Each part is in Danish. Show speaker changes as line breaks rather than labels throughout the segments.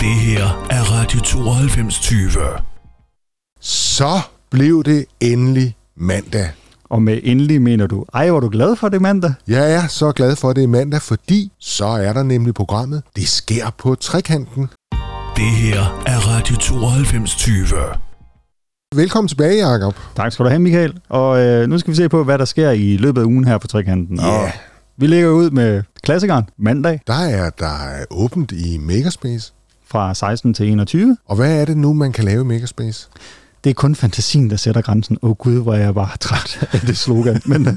Det her er Radio 9220.
Så blev det endelig mandag.
Og med endelig mener du, ej, var du glad for det mandag?
Jeg er så glad for, at det er mandag, fordi så er der nemlig programmet Det sker på trekanten.
Det her er Radio 9220.
Velkommen tilbage, Jacob.
Tak skal du have, Michael. Og øh, nu skal vi se på, hvad der sker i løbet af ugen her på Trekanten.
Ja.
Og vi lægger ud med klassikeren mandag
Der er der er åbent i Makerspace.
fra 16 til 21.
Og hvad er det nu, man kan lave i Makerspace?
Det er kun fantasien, der sætter grænsen. Åh oh, gud, hvor er jeg bare træt af det slogan. Men øh,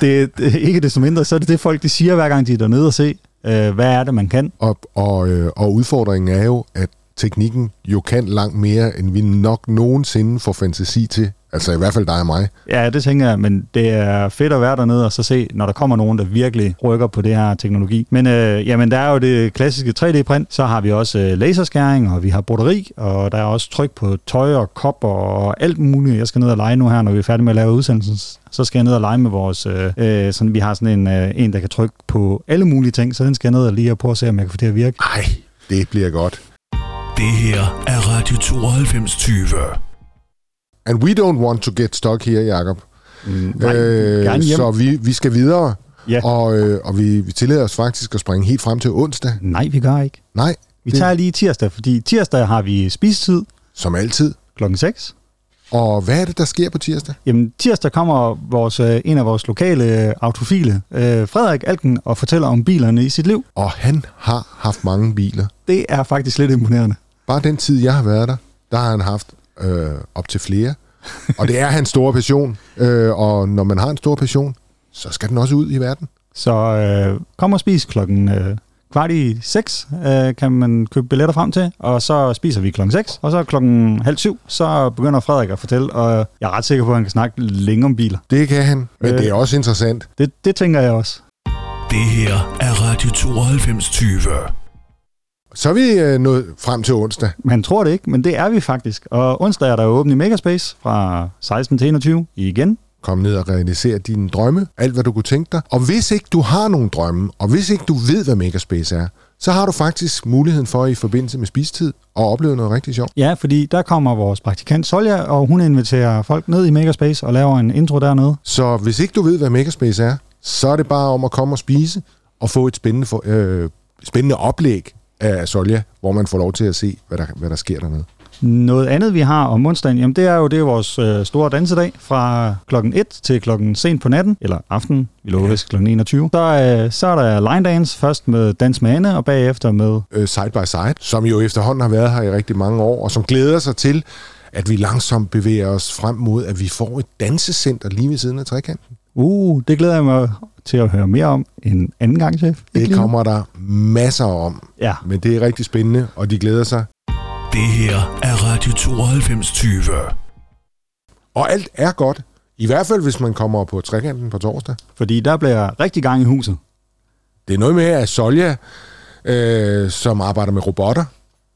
det, det, ikke desto mindre, så er det det, folk de siger, hver gang de er dernede og se, øh, hvad er det, man kan.
Og, og, øh, og udfordringen er jo, at teknikken jo kan langt mere, end vi nok nogensinde får fantasi til. Altså i hvert fald dig og mig.
Ja, det tænker jeg, men det er fedt at være dernede og så se, når der kommer nogen, der virkelig rykker på det her teknologi. Men øh, jamen, der er jo det klassiske 3D-print, så har vi også øh, laserskæring, og vi har broderi, og der er også tryk på tøj og kopper og alt muligt. Jeg skal ned og lege nu her, når vi er færdige med at lave udsendelsen. Så skal jeg ned og lege med vores... Øh, øh, sådan, vi har sådan en, øh, en, der kan trykke på alle mulige ting, så den skal jeg ned og lige og prøve at se, om jeg kan få det at virke.
Ej, det bliver godt.
Det her er Radio 9220.
And we don't want to get stuck here, Jacob.
Mm, nej, gerne hjem.
øh, så vi, vi skal videre,
Ja.
og, øh, og vi, vi tillader os faktisk at springe helt frem til onsdag.
Nej, vi gør ikke.
Nej,
Vi
Det-
tager lige tirsdag, fordi tirsdag har vi spisetid
som altid.
klokken 6.
Og hvad er det, der sker på tirsdag?
Jamen, tirsdag kommer vores, øh, en af vores lokale øh, autofile, øh, Frederik Alken, og fortæller om bilerne i sit liv.
Og han har haft mange biler.
Det er faktisk lidt imponerende.
Bare den tid, jeg har været der, der har han haft øh, op til flere. Og det er hans store passion. Øh, og når man har en stor passion, så skal den også ud i verden.
Så øh, kom og spis klokken øh, kvart i seks, øh, kan man købe billetter frem til, og så spiser vi klokken 6, og så klokken halv syv, så begynder Frederik at fortælle, og jeg er ret sikker på, at han kan snakke længe om biler.
Det kan han, men øh. det er også interessant.
Det, det tænker jeg også.
Det her er Radio 9220.
Så er vi øh, nået frem til onsdag.
Man tror det ikke, men det er vi faktisk. Og onsdag er der åbent i Megaspace fra 16 til 21 igen.
Kom ned og realisere dine drømme, alt hvad du kunne tænke dig. Og hvis ikke du har nogen drømme, og hvis ikke du ved, hvad Makerspace er, så har du faktisk muligheden for i forbindelse med spistid at opleve noget rigtig sjovt.
Ja, fordi der kommer vores praktikant Solja, og hun inviterer folk ned i Makerspace og laver en intro dernede.
Så hvis ikke du ved, hvad Makerspace er, så er det bare om at komme og spise og få et spændende, for, øh, spændende oplæg af Solja, hvor man får lov til at se, hvad der, hvad der sker dernede.
Noget andet, vi har om onsdagen, jamen det er jo det er vores øh, store dansedag fra klokken 1 til klokken sent på natten, eller aftenen, vi lover vist klokken 21. Så, øh, så er der line dance, først med Dans med Anne, og bagefter med...
Øh, side by Side, som jo efterhånden har været her i rigtig mange år, og som glæder sig til, at vi langsomt bevæger os frem mod, at vi får et dansecenter lige ved siden af trekanten.
Uh, det glæder jeg mig til at høre mere om en anden gang, chef. Ikke lige
Det
nu?
kommer der masser om,
Ja,
men det er rigtig spændende, og de glæder sig.
Det her er Radio 9220.
Og alt er godt, i hvert fald hvis man kommer på trekanten på torsdag.
fordi der bliver rigtig gang i huset.
Det er noget med, at Solja, øh, som arbejder med robotter,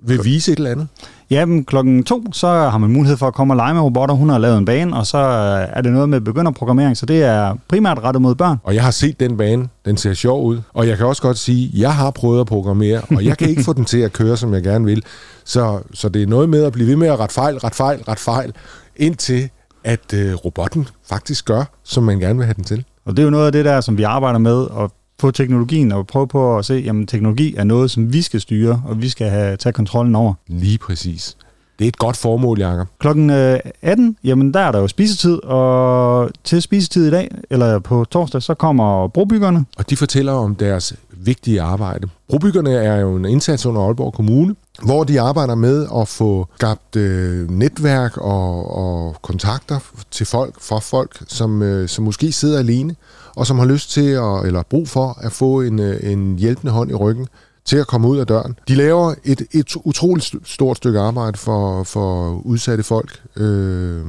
vil vise et eller andet.
Ja, men klokken to, så har man mulighed for at komme og lege med robotter. Hun har lavet en bane, og så øh, er det noget med begynderprogrammering, så det er primært rettet mod børn.
Og jeg har set den bane. Den ser sjov ud. Og jeg kan også godt sige, at jeg har prøvet at programmere, og jeg kan ikke få den til at køre, som jeg gerne vil. Så, så det er noget med at blive ved med at rette fejl, rette fejl, rette fejl, indtil at øh, robotten faktisk gør, som man gerne vil have den til.
Og det er jo noget af det der, som vi arbejder med, at få teknologien og prøve på at se, jamen teknologi er noget, som vi skal styre, og vi skal have, tage kontrollen over.
Lige præcis. Det er et godt formål, Jacob.
Klokken øh, 18, jamen der er der jo spisetid, og til spisetid i dag, eller på torsdag, så kommer brobyggerne.
og de fortæller om deres vigtige arbejde. Brobyggerne er jo en indsats under Aalborg Kommune, hvor de arbejder med at få skabt øh, netværk og, og kontakter til folk, fra folk, som, øh, som måske sidder alene, og som har lyst til, at, eller brug for, at få en, øh, en hjælpende hånd i ryggen til at komme ud af døren. De laver et, et utroligt st- stort stykke arbejde for, for udsatte folk. Øh,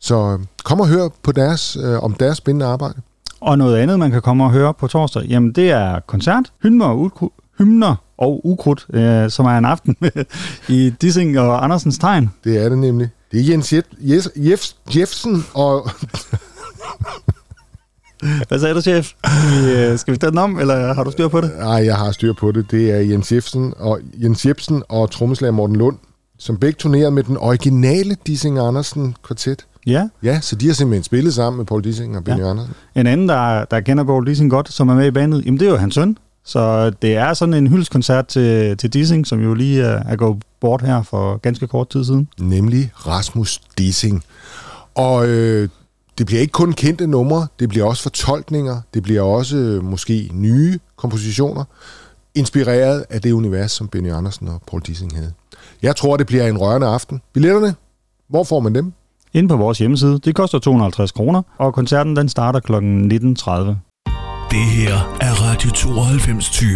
så kom og hør på deres, øh, om deres spændende arbejde.
Og noget andet, man kan komme og høre på torsdag, jamen det er koncert, hymner og ukrudt, hymner og ukrudt, øh, som er en aften i Dissing og Andersens Tegn.
Det er det nemlig. Det er Jens Jef- Jes- Jef- Jefsen og...
Hvad sagde du, chef? Skal vi, øh, skal vi tage den om, eller har du styr på det?
Nej, jeg har styr på det. Det er Jens Jebsen og, Jens Jebsen og trommeslager Morten Lund, som begge turnerede med den originale Dissing Andersen kvartet.
Ja.
Ja, så de har simpelthen spillet sammen med Paul Dissing og Benny ja. Andersen.
En anden, der, der kender Borg Dissing godt, som er med i bandet, jamen det er jo hans søn. Så det er sådan en hyldskoncert til, til Dissing, som jo lige er, er gået bort her for ganske kort tid siden.
Nemlig Rasmus Dissing. Og øh, det bliver ikke kun kendte numre, det bliver også fortolkninger, det bliver også øh, måske nye kompositioner, inspireret af det univers, som Benny Andersen og Paul Dissing havde. Jeg tror, det bliver en rørende aften. Billetterne, hvor får man dem?
Inde på vores hjemmeside. Det koster 250 kroner, og koncerten den starter kl. 19.30.
Det her er Radio 92 20.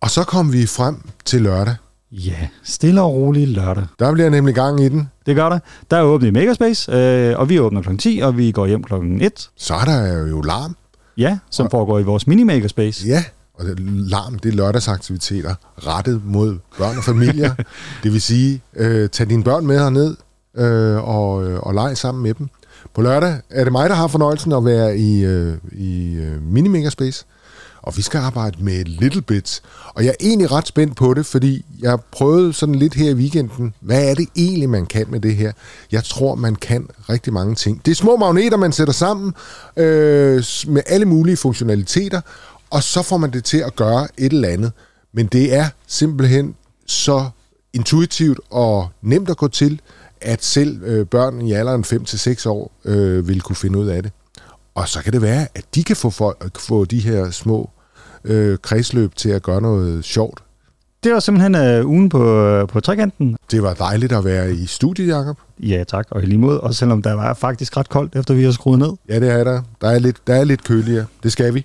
Og så kom vi frem til lørdag.
Ja, stille og rolig lørdag.
Der bliver nemlig gang i den.
Det gør der. Der er åbent i Megaspace, øh, og vi åbner kl. 10, og vi går hjem kl. 1.
Så er der jo larm.
Ja, som foregår i vores mini-Makerspace.
Ja, og det- larm, det er lørdagsaktiviteter rettet mod børn og familier. det vil sige, øh, tag dine børn med herned øh, og, øh, og leg sammen med dem. På lørdag er det mig, der har fornøjelsen at være i, øh, i øh, Minimakerspace, og vi skal arbejde med Little Bits. Og jeg er egentlig ret spændt på det, fordi jeg prøvede sådan lidt her i weekenden, hvad er det egentlig, man kan med det her? Jeg tror, man kan rigtig mange ting. Det er små magneter, man sætter sammen øh, s- med alle mulige funktionaliteter, og så får man det til at gøre et eller andet. Men det er simpelthen så intuitivt og nemt at gå til, at selv øh, børn i alderen 5-6 år øh, vil kunne finde ud af det. Og så kan det være, at de kan få, folk, øh, få de her små øh, kredsløb til at gøre noget sjovt.
Det var simpelthen øh, ugen på, øh, på trekanten.
Det var dejligt at være i studiet, Jacob.
Ja tak, og i lige måde. Også selvom der var faktisk ret koldt, efter vi har skruet ned.
Ja, det er der. Der er lidt, der er lidt køligere. Det skal vi.